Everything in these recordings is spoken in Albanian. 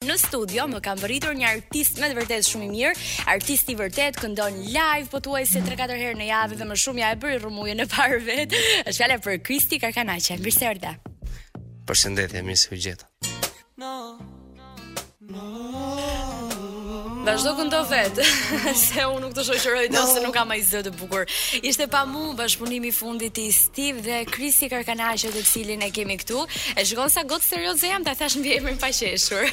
në studio më ka mbërritur një artist me të vërtetë shumë i mirë, artist i vërtet, këndon live pothuajse 3-4 herë në javë dhe më shumë ja e bëri rrëmujën e parë vet. Është fjala për Kristi Karkanaqe. Mirë se erdhe. Përshëndetje, mirë se u gjeta. Vazhdo këndo vet, se unë nuk të shoqëroj dot se nuk kam ai zë të bukur. Ishte pa mua bashkëpunimi i fundit i Steve dhe Kristi Karkanaqe, të cilin e kemi këtu. E shikon sa gotë serioze jam ta thash mbi emrin pa qeshur.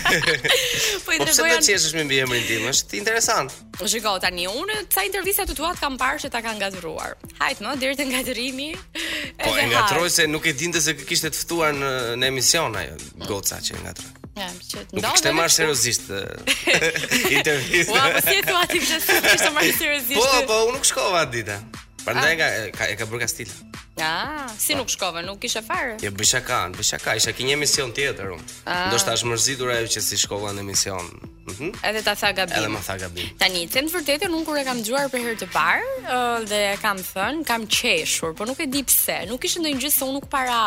po i Po pse do tregoja të qeshësh me mbiemrin tim? Është interesant. Shiko Po tani unë ca intervista të tua të kam parë që ta kanë ngatëruar. Hajt më deri te ngatërimi. Po edhe e ngatroj hajt. se nuk e dinte se kishte të ftuar në, në emision ajo goca që e ngatroj. Ja, që Nuk e kishte marrë seriozisht eh, Ua, po intervistën. si e thua ti kështë se kështë marrë seriozisht? Po, po, unë nuk shkova atë ditë. Prandaj ka e ka, e ka bërë Jo, ka stil. Ah, si nuk shkove, nuk kishe fare. Je bëj shaka, bëj shaka, isha ke një emision tjetër unë. Ah. Ndoshta është mërzitur ajo që si shkova në emision. Mhm. Edhe ta tha Edhe gabim. më tha gabim. Tani, të në vërtetën, unë kur e kam dëgjuar për herë të parë ë, dhe e kam thënë, kam qeshur, por nuk e di pse. Nuk ishte ndonjë gjë se unë nuk para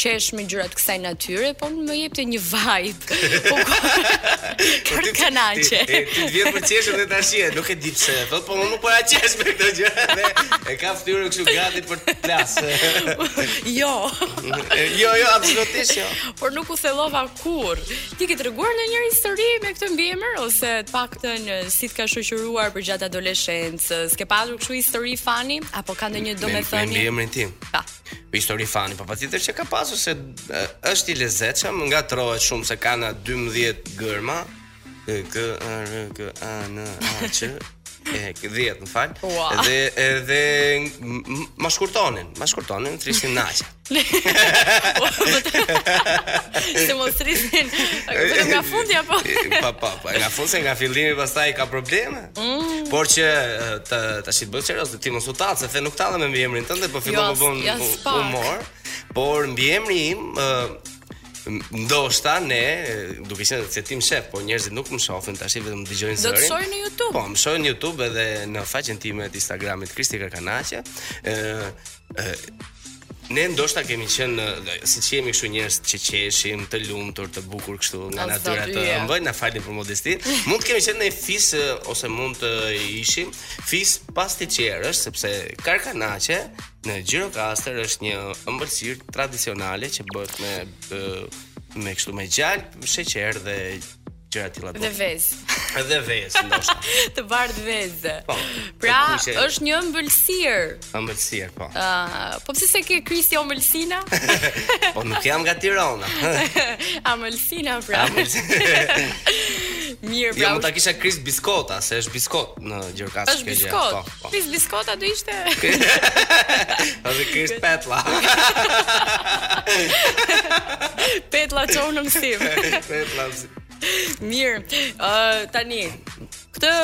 qesh me gjëra të kësaj natyre, po më jepte një vibe. Po kur Ti kanaqe. ti- ti të vjen për qeshën dhe tash je, nuk e di pse. Thot, po unë nuk para qesh me këtë gjë dhe e ka fytyrën kështu gati për të plas. Jo, jo, jo, absolutisht jo. por nuk u thellova kurr. Ti ke treguar ndonjë histori me këtë mbiemër ose të paktën ë, si të ka shoqëruar përgjatë adoleshencës? Ke pasur kështu histori fani apo ka ndonjë me domethënie? emrin tim. Pa. Histori fani, po patjetër që ka pasur se e, është i lezetshëm, ngatrohet shumë se ka na 12 gërma. E, K A R K A N A Q e k- 10 më fal. Ua. Dhe edhe m- m- ma shkurtonin, ma shkurtonin, thrishin naqa. Po, Se mos rrisin vetëm nga fundi apo? E, pa pa pa, nga fundi se nga fillimi pastaj ka probleme. Mm. Por që e, të tash i bëj serioz, ti mos u tat, se the nuk tallem me mbiemrin tënd, po Jo, fillon të as- bën jo, as u- pak. humor, por mbiemri im ë, ndoshta ne e, duke qenë se tim shef, po njerëzit nuk më shohin tash vetëm dëgjojnë Do zërin. të shohin në YouTube. Po, më shohin në YouTube edhe në faqen time të Instagramit Kristi Karkanaqe. ë ë Ne ndoshta kemi qenë ë, si që jemi kështu njerëz që qeshim, të lumtur, të bukur kështu nga O, natyra zoti, të ja. ëmbël, na falni për modestin. Mund të kemi qenë ne fis ë, ose mund të ishim fis pastiqerësh sepse karkanaqe në Gjirokastër është një ëmbëlsirë tradicionale që bëhet me ë, me kështu me gjalp, sheqer dhe gjëra të tilla. Dhe do. vez. Edhe vezë ndoshta. Të bardh vezë. Po, Pra, po, kishe- është një ëmbëlsirë. Ëmbëlsirë, po. Ë, po pse se ke Kristi ëmbëlsina? Po nuk jam nga Tirana. Ah. Amëlsina pra. Ëmbëlsirë. Mirë, Jo, pra. mund ta kisha kris biskota, se është biskot në Gjirokastër. është kjo gjë, biskot. Po, po. Pis biskota do ishte. Ose kris petlla. Petlla çonë në mësim. petlla. Mirë. Ë tani këtë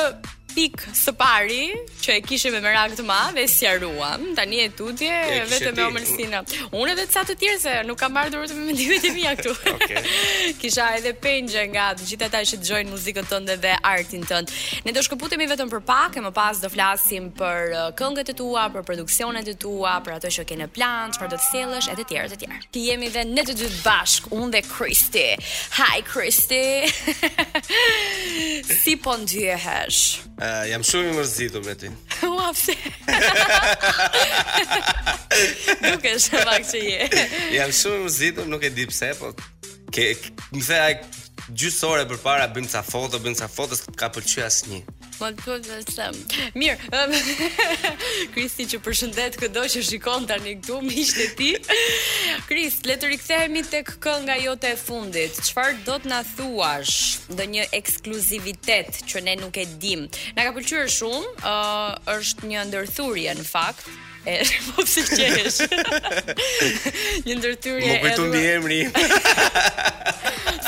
pikë së pari që e kishim me merak të madh e sqaruam. Tani e tutje E kishe vetëm me ti. omëlsina. Unë edhe ca të tjerë se nuk kam marrë dorë të me mendimet e mia këtu. Okej. Kisha edhe pengje nga të gjithë ata që dëgjojnë muzikën tënde dhe artin tënd. Ne do shkëputemi vetëm për pak e më pas do flasim për uh, këngët e tua, për produksionet e tua, për ato që ke në plan, çfarë do të sjellësh e të tjerë të tjerë. Ti jemi dhe ne të dy bashk, unë dhe Kristi. Hi Kristi. si po ndjehesh? Ë, Eh, jam shumë i mërzitur me ty. Ua pse? Nuk e pak që je. Jam shumë i mërzitur, nuk e di pse, po ke ke- më the ai gjysore përpara bëjmë ca foto, bëjmë ca foto, s'të ka pëlqyer asnjë. Më të thotë dhe se Mirë, ëm, Kristi që përshëndet këdo që shikon tani këtu, miqtë e ti. Kris, le të rikthehemi tek kënga jote e fundit. Çfarë do të na thuash? Ndonjë ekskluzivitet që ne nuk e dim. Na ka pëlqyer shumë, ë, është një ndërthurje në fakt. E, po pse qesh? një ndërthurje Më kujtu edhe- mbi emri. im.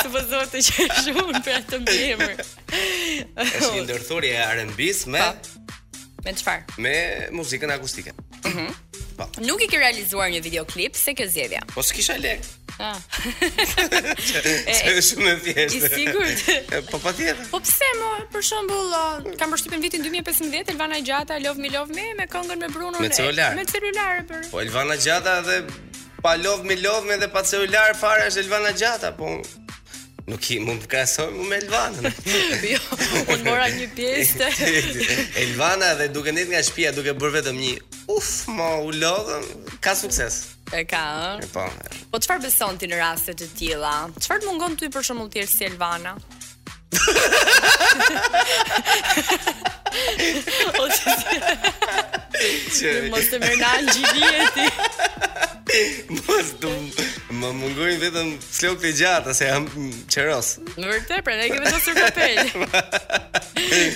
supozohet të qesh unë për atë mbiemër. Është një ndërthurje e R&B-s me Pa. Me çfarë? me muzikën akustike. Nuk i ke realizuar një videoklip se kjo zgjedhja. Po s'kisha lek. Ah. Se është shumë e thjeshtë. i sigurt? E, Po patjetër. Po pse mo, për shembull, uh, kam përshtypjen vitin 2015 Elvana Gjata Love Me Love Me me këngën me Brunon Me e- celular. Me celular e për. Po Elvana Gjata dhe pa lodh me lodh me dhe pa celular fare është Elvana Gjata, po Nuk i mund të krahasoj mu me Elvanën. jo, unë mora një pjesë. të- Elvana dhe duke ndet nga shtëpia duke bërë vetëm një uf, mo u lodhëm, ka sukses. E ka, ë? Po. Po çfarë beson ti në raste të tilla? Çfarë të mungon ty për shembull tjerë si Elvana? o që ti Që mos të merë në algjivije ti mos të më mungojnë vetëm flokët e gjata se jam qeros. Në vërtet, pra ne kemi vendosur papel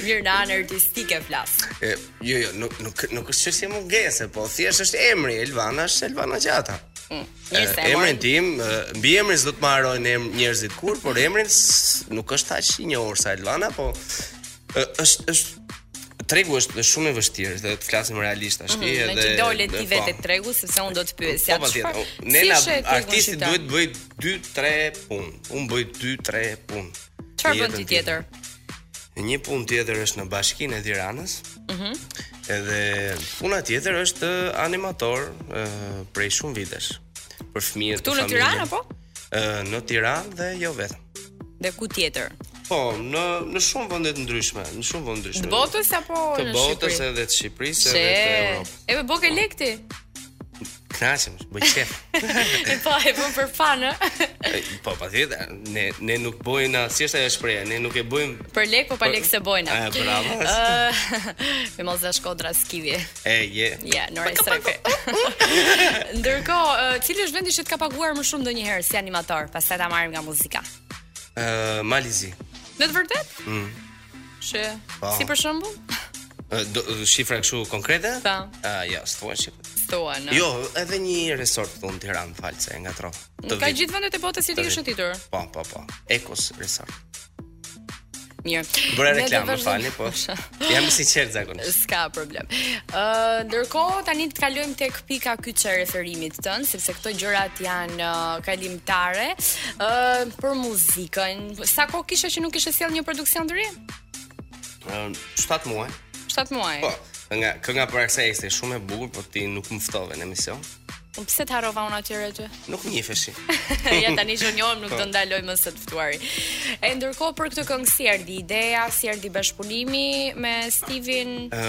Mirë në anë artistike flas E, jo, jo, nuk nuk nuk është çështje mungese, po thjesht është emri, Elvana është Elvana Gjata. Mirë E, Mm. se e Eh, emrin morën tim, e, mbi emrin s'do të më harrojnë em- njerëzit kur, por emrin s- nuk është aq i njohur sa Elvana, po e, është është tregu është shumë i vështirë, dhe të flasim realisht tash. Mm Mhm, Me që dole ti vetë e tregu, sepse unë do të pyes Po ja pa çfarë- tjetër. si Ne na është e tregun artisti qytetar? duhet bëj 2-3 punë. Unë bëj 2-3 punë. Çfarë Në bën ti jetën time. tjetër? Një punë tjetër është në Bashkinë e Tiranës. Mhm. edhe puna tjetër është ë, animator ë, prej shumë vitesh. Për fëmijët Tu në Tiranë apo? Ë, në Tiranë dhe jo vetëm. Dhe ku tjetër? Po, në në shumë vende të ndryshme, në shumë vende ndryshme. Të botës apo të në botës Shqipëri? edhe të Shqipërisë She. edhe të Europës. E me bokë lekti. Kënaqem, bëj qef. E pa, e bën për fan, ë. E, po, patjetër, ne ne nuk bojmë si është ajo shpreha, ne nuk e bëjmë Për lek po pa lek se bojna. E, bravo. Ë, me mos dash kodra skivi. E, je. Ja, në orë strefi. Ndërkohë, ë, cili është vendi që të ka paguar më shumë ndonjëherë si animator, pastaj ta marrim nga muzika. Ë, Malizi. Në të vërtet? Mm. Shë, Po. si për shembull? Ë, do- Shifra kështu konkrete? Ta. Ah, ja, s'tuan shifra. Thua, në. Jo, edhe një resort këtu në Tiranë, falë se e ngatrova. Të Ka vit. gjithë vendet e botës që ti Të ke vit. shëtitur. Po, po, po. Ecos Resort. Mirë. Bëra Ne do reklamë, më vazhdojmë. falni, po. Jam i sinqert zakonisht. S'ka problem. Ë ndërkohë tani të kalojmë tek pika kyçe e referimit tënd, sepse këto gjërat janë ë, kalimtare. Ë për muzikën, sa kohë kishe që nuk kishe sjell një produksion të ri? Ë, 7 muaj. 7 muaj. Po, nga kënga për aksa ishte shumë e bukur, po ti nuk më ftove në emision. Po. Pse të harrova unë atyre ty? Nuk më njefeshi. ja tani që njohem nuk do ndaloj më së të ftuari. E ndërkohë për këtë këngë si erdhi ideja, si erdhi bashkëpunimi me Steven Ë,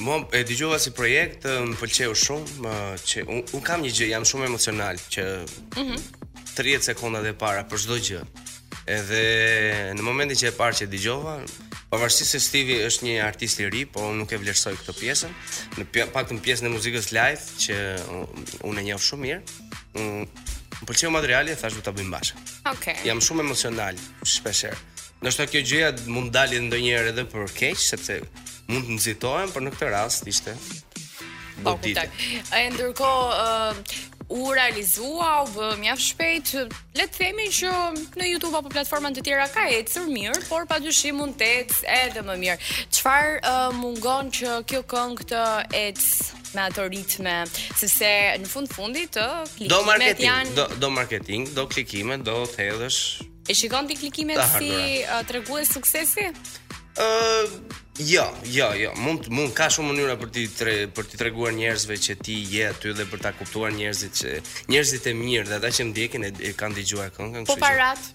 mua e dëgjova si projekt, ë, më pëlqeu shumë, më që un, un kam një gjë, jam shumë emocional që 30 sekondat e para për çdo gjë. Edhe në momentin që e parë që e dëgjova, pavarësisht se Stevie është një artist i ri, po unë nuk e vlerësoj këtë pjesën, në pje- paktën pjesën e muzikës live që un- unë e njoh shumë mirë. Un, më pëlqeu materiali, thash do ta bëjmë bashkë Okej. jam shumë emocional shpeshherë. Ndoshta kjo gjëja mund dalë ndonjëherë edhe për keq, sepse mund të nxitohem, por në këtë rast ishte Po, goditje. kuptoj. E ndërkohë ë, u realizua, u bë mjaft shpejt. Le të themi që në YouTube apo platforma të tjera ka ecur mirë, por padyshim mund të ecë edhe më mirë. Çfarë ë, mungon që kjo këngë të ecë me ato ritme, sepse në fund fundit ë Do klikimet marketing, janë do, do marketing, do klikime, do thellësh. e shikon ti klikimet Ta si hardura. ë, tregues suksesi? Ë, jo, jo, jo, mund mund ka shumë mënyra për ti tre, për ti treguar njerëzve që ti je aty dhe për ta kuptuar njerëzit që njerëzit e mirë dhe ata që ndjekin e, e kanë dëgjuar këngën, Po kështu që parat,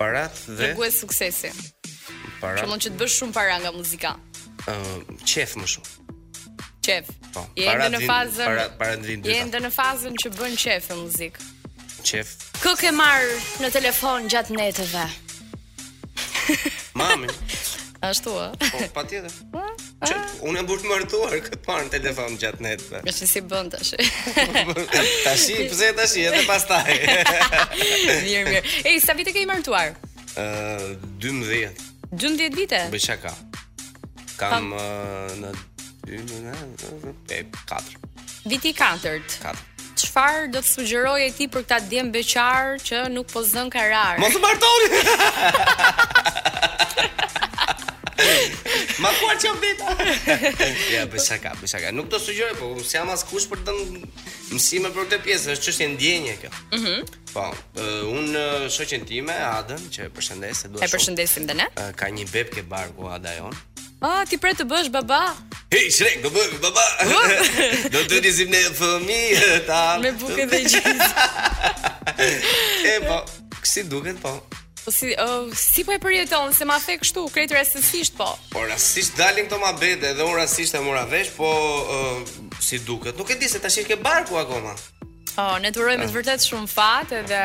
parat dhe tregues suksesi. Që parat, mund që të bësh shumë para nga muzika. ë, qef më shumë. Qef. Po, Je ende parat në vin- fazën parat, parat vin Je dyta. ende në fazën që bën qef e muzikë. Qef. Kë ke marrë në telefon gjatë netëve? Mami. Ashtu ë. Po, pa tjetër. Që, unë e burë të mërtuar këtë parë në telefon gjatë netëve. Me që si bën tash. tashi, pse tashi, edhe pastaj. mirë, mirë. Ej, sa vite ke i martuar? Ë, 12 12 vite. bëj çaka. Kam ë, në 2 në e 4, Viti i katërt. 4. Çfarë do të sugjeroje ti për këtë djem beqar që nuk po zën karar? Mos u martoni. Ma kuar që vita Ja, bëj çaka, bëj çaka Nuk do sugjeroj, po unë s'jam askush për të dhënë mësime për këtë pjesë është çështje ndjenje kjo Mhm Po, ë, unë ë, shoqen time, Adën, që e përshëndes, e dua E përshëndesim dhe ne. Ë, Ka një bebë ke barku Ada jon Ah, ti pret të bësh baba Hej, shrek, do bëj, baba Do të njësim në fëmijë ta me bukë dhe gjithë. E, po, kësi duket, po Po si ë, si po e përjeton se ma the kështu krejt rastësisht po. Po rastisht dalin këto mabete dhe unë rastisht e mora vesh, po ë, si duket. Nuk e di se tash ke barku akoma. Oh, ne të urojmë të vërtet shumë fat edhe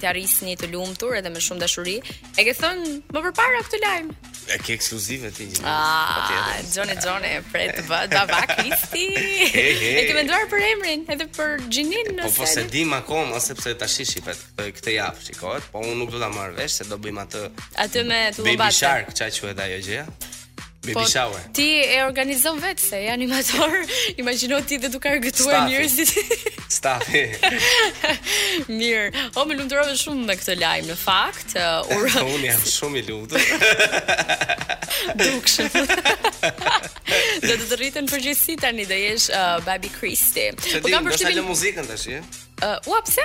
të arrisni të lumtur edhe me shumë dashuri. E ke thënë më përpara këtë lajm. E ke ekskluzive ti. Gjina. Ah, Patjetër. Gjone Gjone, pret të bë, da va Kristi. Hey, hey. E ke menduar për emrin, edhe për gjinin Po po se di. dim akoma sepse tash i shipet e, këtë javë shikohet, po unë nuk do ta marr vesh se do bëjmë atë Atë me Baby tullumbatë. Shark, çka quhet ajo gjëja? Baby Po. Shower. Ti e organizon vetë se je animator, imagjino ti dhe duke argëtuar Stafi. njerëzit. Stafi. Mirë. O më lumturove shumë me këtë lajm në fakt. Uh, ura Po, unë jam shumë i Po, lumtur. dukshëm. do të të rriten përgjithësi tani do jesh uh, Babi Kristi. Se Po di, kam ndoshta lë përshtypjen muzikën tash, je? uh, ua pse?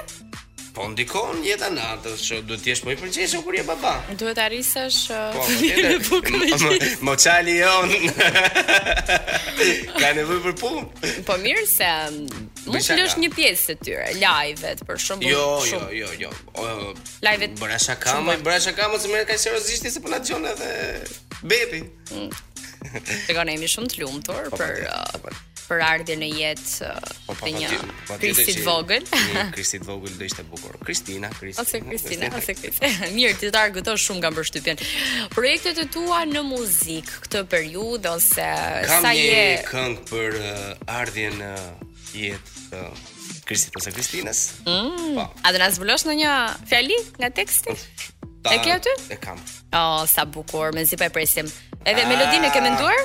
Po ndikon jeta natës që duhet të jesh më i përgjeshëm kur je baba. Duhet të arrisësh uh, Po, fëmijën e bukë me gjithë. Mo çali jon. Ka nevojë për punë. Po mirë se um, mund të shaka. lësh një pjesë të tyre, live-et për shembull. Jo, jo, shumë. jo, jo. O, Live-et Bëra shaka, më bëra shaka, më se merr kaq seriozisht se po na dëgjon edhe Bepi. Tregon jemi shumë të lumtur për patjetër, uh, po, për ardhjen në jetë uh, Po po të një patjetër, patjetër Kristi që- të vogël. Një Kristi të vogël do ishte bukur. Kristina, Kristina. Ose Kristina, ose Kristina. Mirë, ti të argëtosh shumë kam përshtypjen. Projektet e tua në muzikë këtë periudhë ose Kam sa je një këngë për uh, ardhjen në jetë të Kristit ose Kristinës. Po. A do na zbulosh në një fjali nga teksti? Ta- E ke aty? E kam. Oh, sa bukur, me zi pa e presim. Edhe Ah. melodinë e ke menduar?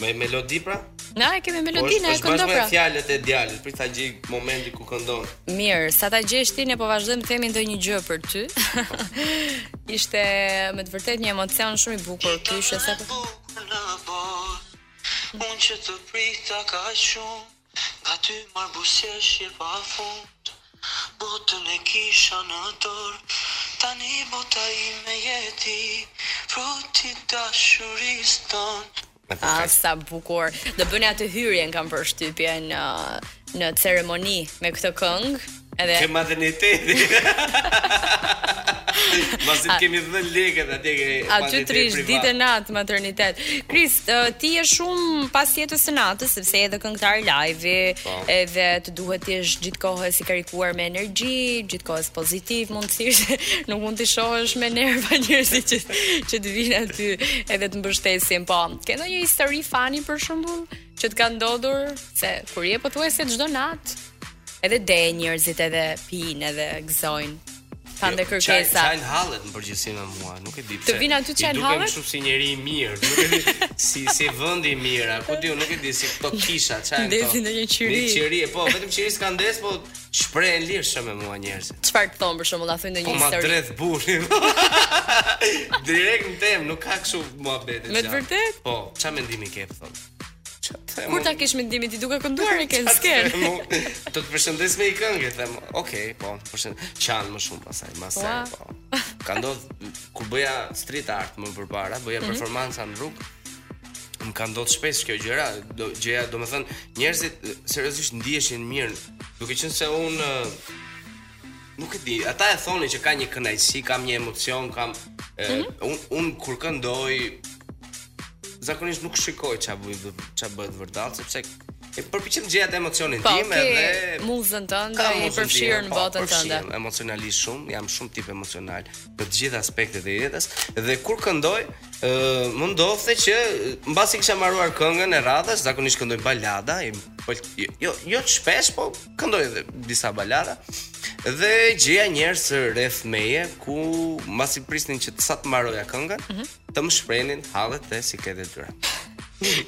Me melodi pra? Na, e kemi Po melodinë, është e është këndo bashkë me pra. fjalët e djalit, për ta gjej momentin ku këndon. Mirë, sa ta gjesh ti ne po vazhdojmë të themi ndonjë gjë për ty. Ishte me të vërtetë një emocion shumë i bukur ky ishte sa po. Unë që të prita ka shumë Nga ty marrë busjesh je pa fund Botën e kisha në dorë Tani bota ime jeti Fruti dashuris ton Me po Ah, kaq. sa bukur. Do bëni atë hyrjen kam përshtypje në në ceremoni me këtë këngë. Edhe Ke materniteti. Masi të kemi dhënë lekët atje ke. aty materniteti trish privat. ditë e natë maternitet. Kris, ë, ti je shumë pas jetës së natës sepse je edhe këngëtar live, Po. edhe të duhet të jesh gjithkohës i karikuar me energji, gjithkohës pozitiv, mundësisht nuk mund të shohësh me nerva njerëzit që që të vinë aty edhe të mbështesin. Po, ke ndonjë histori fani për shembull që të ka ndodhur se kur je pothuajse çdo natë edhe de njerëzit edhe pinë edhe gëzojnë. Kanë dhe kërkesa. Çajn Jo, hallet në përgjithësi me mua, nuk e di pse. Të vinë aty çajin hallet? Dukem shumë si njeri i mirë, nuk e di si si vendi i mirë, a ku diu, nuk e di si këto kisha çajin. Ndesin në një qiri. Në qiri, po, vetëm qiri s'ka ndes, po shprehen lirshëm me mua njerëzit. Çfarë të thon për shembull, a thënë Po ndonjë ma histori? dreth burrin. Direkt në temë, nuk ka kështu muhabete. Me të gjatë. vërtet? Po, ç'a mendimi ke thon? Ç'a Kur ta kesh mendimin ti duke kënduar e ke në Atëherë, sken. mu, Do të përshëndes me i këngë, e them. Okej, po, përshëndes. Qan më shumë pasaj, më se. Ua. Po. Ka ndodh kur bëja street art më përpara, Mhm. bëja performanca në rrugë. Më ka ndodhur shpesh kjo gjëra, do gjëja, domethënë njerëzit e, seriozisht ndiheshin mirë, duke qenë se unë e, nuk e di, ata e thonin që ka një kënaqësi, kam një emocion, kam e, Mhm. un un kur këndoj zakonisht nuk shikoj ç'a bëj ç'a bëhet vërtet, sepse e përpiqem të gjej atë emocionin Po, tim ke edhe muzën Ka tënde i muzën përfshirë time, në po, botën tënde. përfshihem Emocionalisht shumë, jam shumë tip emocional në të gjitha aspektet e jetës dhe kur këndoj, ë më ndodhte që e, mbasi kisha mbaruar këngën e radhës, zakonisht këndoj balada, i pël- jo jo të shpesh, po këndoj edhe disa balada. Dhe gjeja njerëz rreth meje ku mbasi prisnin që të sa të mbaroja këngën, Mhm. të më shprenin hallet dhe sikletet e tyre.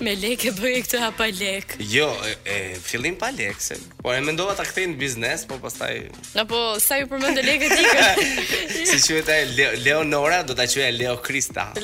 Me lek e bëje këtë hapa lek. Jo, e, e fillim pa lekse, por e mendova ta kthej në biznes, po pastaj Apo sa ju përmendë lekët ikën. Si quhet ai Leo, Leonora, do ta quaja Leo Krista.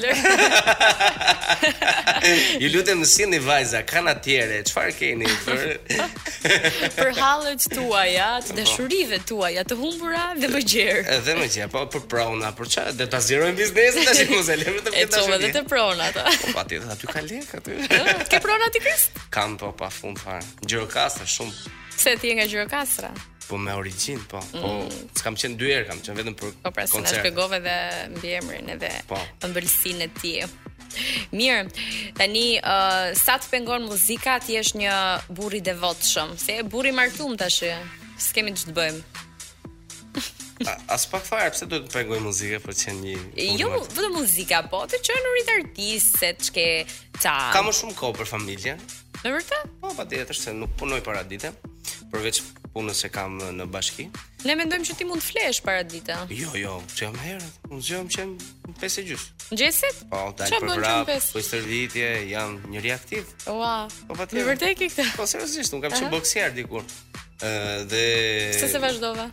Ju lutem sillni vajza, kanë atjere, çfarë keni për për hallet tuaja, Po. të dashurive tuaja, të humbura dhe mëgjer. edhe më gjë, po për prona, për çfarë? Do ta zgjerojmë biznesin tash mos e lëmë të E flet çova edhe te pronat. a? Po patjetër, aty ka lek aty. Ë, Ke pronat i Krist? Kam po pa fund fare. Gjirokasta shumë. Pse ti je nga Gjirokastra? Po me origjinë, po. Po s'kam qenë dy herë, kam qenë vetëm për Mm. Po pra se na koncert. shpjegove dhe mbiemrin edhe Po. ëmbëlsinë e tij. Mirë, tani uh, sa të pengon muzika, ti je një burr i devotshëm. Se je burr i martum tash. S'kemi ç'të bëjmë. A- As pak fare, pse duhet të pengoj muzikë për të qenë një Jo, unë- vetëm muzika, po të qenurit artist, se të shke ta. Ka më shumë kohë për familje. Në vërtet? Po patjetër se nuk punoj para ditë, përveç punës që kam në bashki. Ne mendojmë që ti mund të flesh para ditë. Jo, jo, që jam herët. Unë zgjohem që jam 5 e gjys. Ngjesit? Po, dal Çfarë për bën vrap, gjysmë pesë? për stërvitje, jam njëri aktiv. Ua. Po Në patjetër. vërtet ke këtë? Po seriozisht, unë kam qenë Aha. boksier dikur. Ë dhe Se se vazhdova.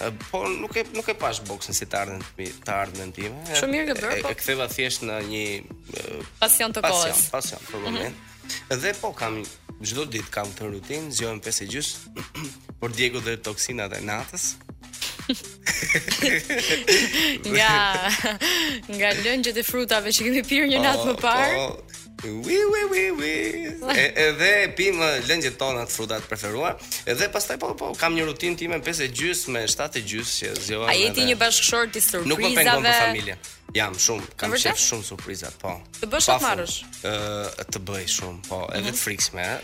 E, Po nuk e nuk e pash boksën si të ardhmen të mi- të ardhmen time. E- Shumë mirë ke bërë, e- po. E ktheva thjesht në një e, Pasion të pasion, kohës. pasion për Mhm. moment. Dhe po kam çdo ditë kam këtë rutinë, zgjohem 5 e gjys, por djegu dhe toksinat e natës. Nga nga lëngjet e frutave që kemi pirë një natë më Po, parë. po, Wi wi wi wi. E- Edhe pim e, lëngjet tona të frutat të preferuar. Edhe pastaj po po kam një rutinë time 5 e gjys me 7 e gjys që zgjohem. A jeti edhe- një bashkëshort i surprizave? Nuk më pengon për familje. Jam shumë, kam vërtet? qef shumë surpriza, po. Të bësh Pa atë marrësh? Mhm. fund. Ë, të bëj shumë, po, edhe të frikshme, ha.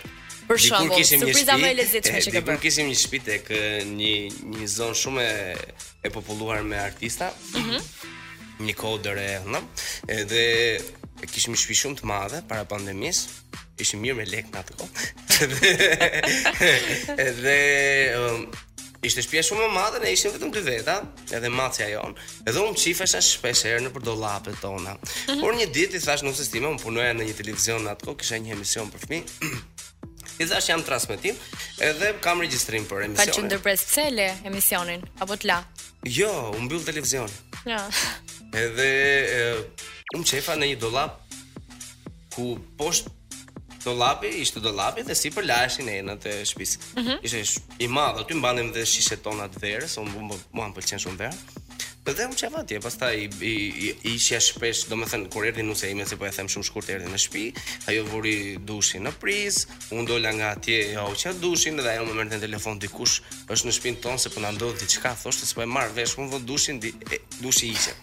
Për Dikur shembull, kishim një surpriza shtëpi- më e lezetshme e, që ke dikur bërë. kishim një shtëpi tek ë, një një zonë shumë e e populluar me artista. Mhm. Një kodër e ëndëm. Edhe kishim një shtëpi shumë të madhe para pandemisë. Ishim mirë me lek në atë kohë. Edhe- Edhe ëm, Ishte shtëpia shumë e madhe, ne ishim vetëm dy veta, edhe macja jon. Edhe unë qifesha shpesh herë nëpër dollapet tona. Por një ditë i thash nëse stime, unë punoja në një televizion në atë kohë, kisha një emision për fëmijë. I thash jam transmetim, edhe kam regjistrim për Fal që emisionin. ndërpres pse le emisionin apo t'la. Jo, u mbyll televizioni. Ja. Edhe e, unë qefa në një dollap ku poshtë dollapi ishte dollapi dhe sipër laheshin enët e shtëpisë. Ishte sh- i madh, aty mbanim dhe shishet tona të verës, unë mua mua më pëlqen shumë verë. Dhe unë qefa atje, pastaj i, i, i- i ishja shpesh, domethënë kur erdhi nuse ime, se po e them shumë shkurt erdhi në shtëpi, ajo vuri dushin në priz, unë dola nga atje, ja u qa dushin dhe ajo më merrte në telefon dikush, është në shtëpinë tonë se po na ndodh diçka, thoshte se po e marr vesh, unë vë dushin, di, e, dushi ishte.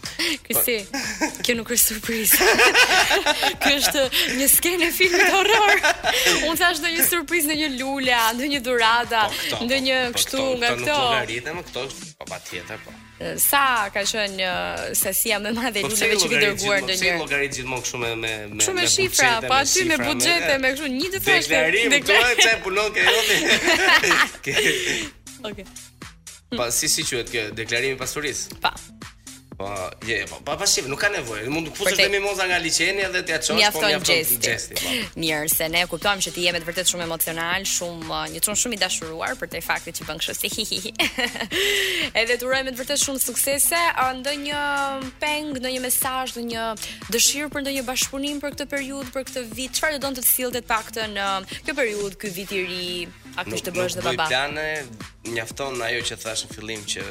Kristi, kjo nuk është surprizë. kjo është një skenë e filmit horror. Unë thash ndonjë surprizë, ndonjë lule, ndonjë dhurata, Po, këto, po, ndonjë po, kështu këto- nga Këto këto. nuk llogaritëm, këto po patjetër po. Sa ka qenë ë, sasia më e madhe e Po luleve që ke dërguar Pse ndonjëherë? llogarit gjithmonë kështu me me me Shumë me me shifra, buxhete, po aty me shifra, buxhete, me kështu një të freskët. Deklarim, Deklarim. deklarim, çfarë punon ke joti? Ke- Okej. Pa si si quhet kjo deklarimi i pasurisë? Pa. Po, je, po, pa pa shifra, nuk ka nevojë. Mund të Për kushtesh te- dhe mimoza nga liçeni edhe t'ia çosh, po Mjafton mjafton gjesti. po. Mirë, se ne kuptojmë që ti je me të vërtet shumë emocional, shumë uh, një çun shumë i dashuruar për të faktit që bën kështu si hi hi hi. Edhe të urojmë me të vërtet shumë suksese, a ndonjë peng, ndonjë mesazh, ndonjë dëshirë për ndonjë bashkëpunim për këtë periudhë, për këtë vit, çfarë do donte të sillte të paktën në këtë periudhë, ky vit i ri, aktisht të bësh dhe bëj baba. plane, mjafton ajo që thash në fillim që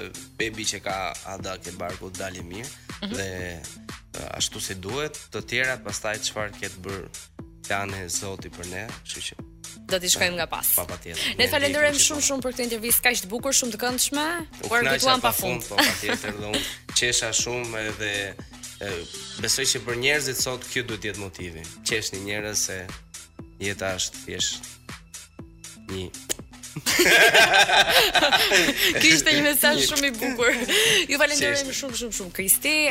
bebi që ka Ada ke barku dali mirë Mhm. dhe uh, ashtu si duhet, të tjerat pastaj çfarë ke të bër plane Zoti për ne, kështu që Do t'i shkojmë nga pas. pa patjetër. Ne falenderojmë shumë shumë për këtë intervistë kaq të bukur, shumë të këndshme. U argumentuam pa fund. po patjetër dhe unë qesha shumë edhe e, besoj që për njerëzit sot kjo duhet të jetë motivi. Qeshni njerëz se jeta është thjesht një Ky ishte një mesazh shumë i bukur. Ju falenderojmë shumë shumë shumë Kristi.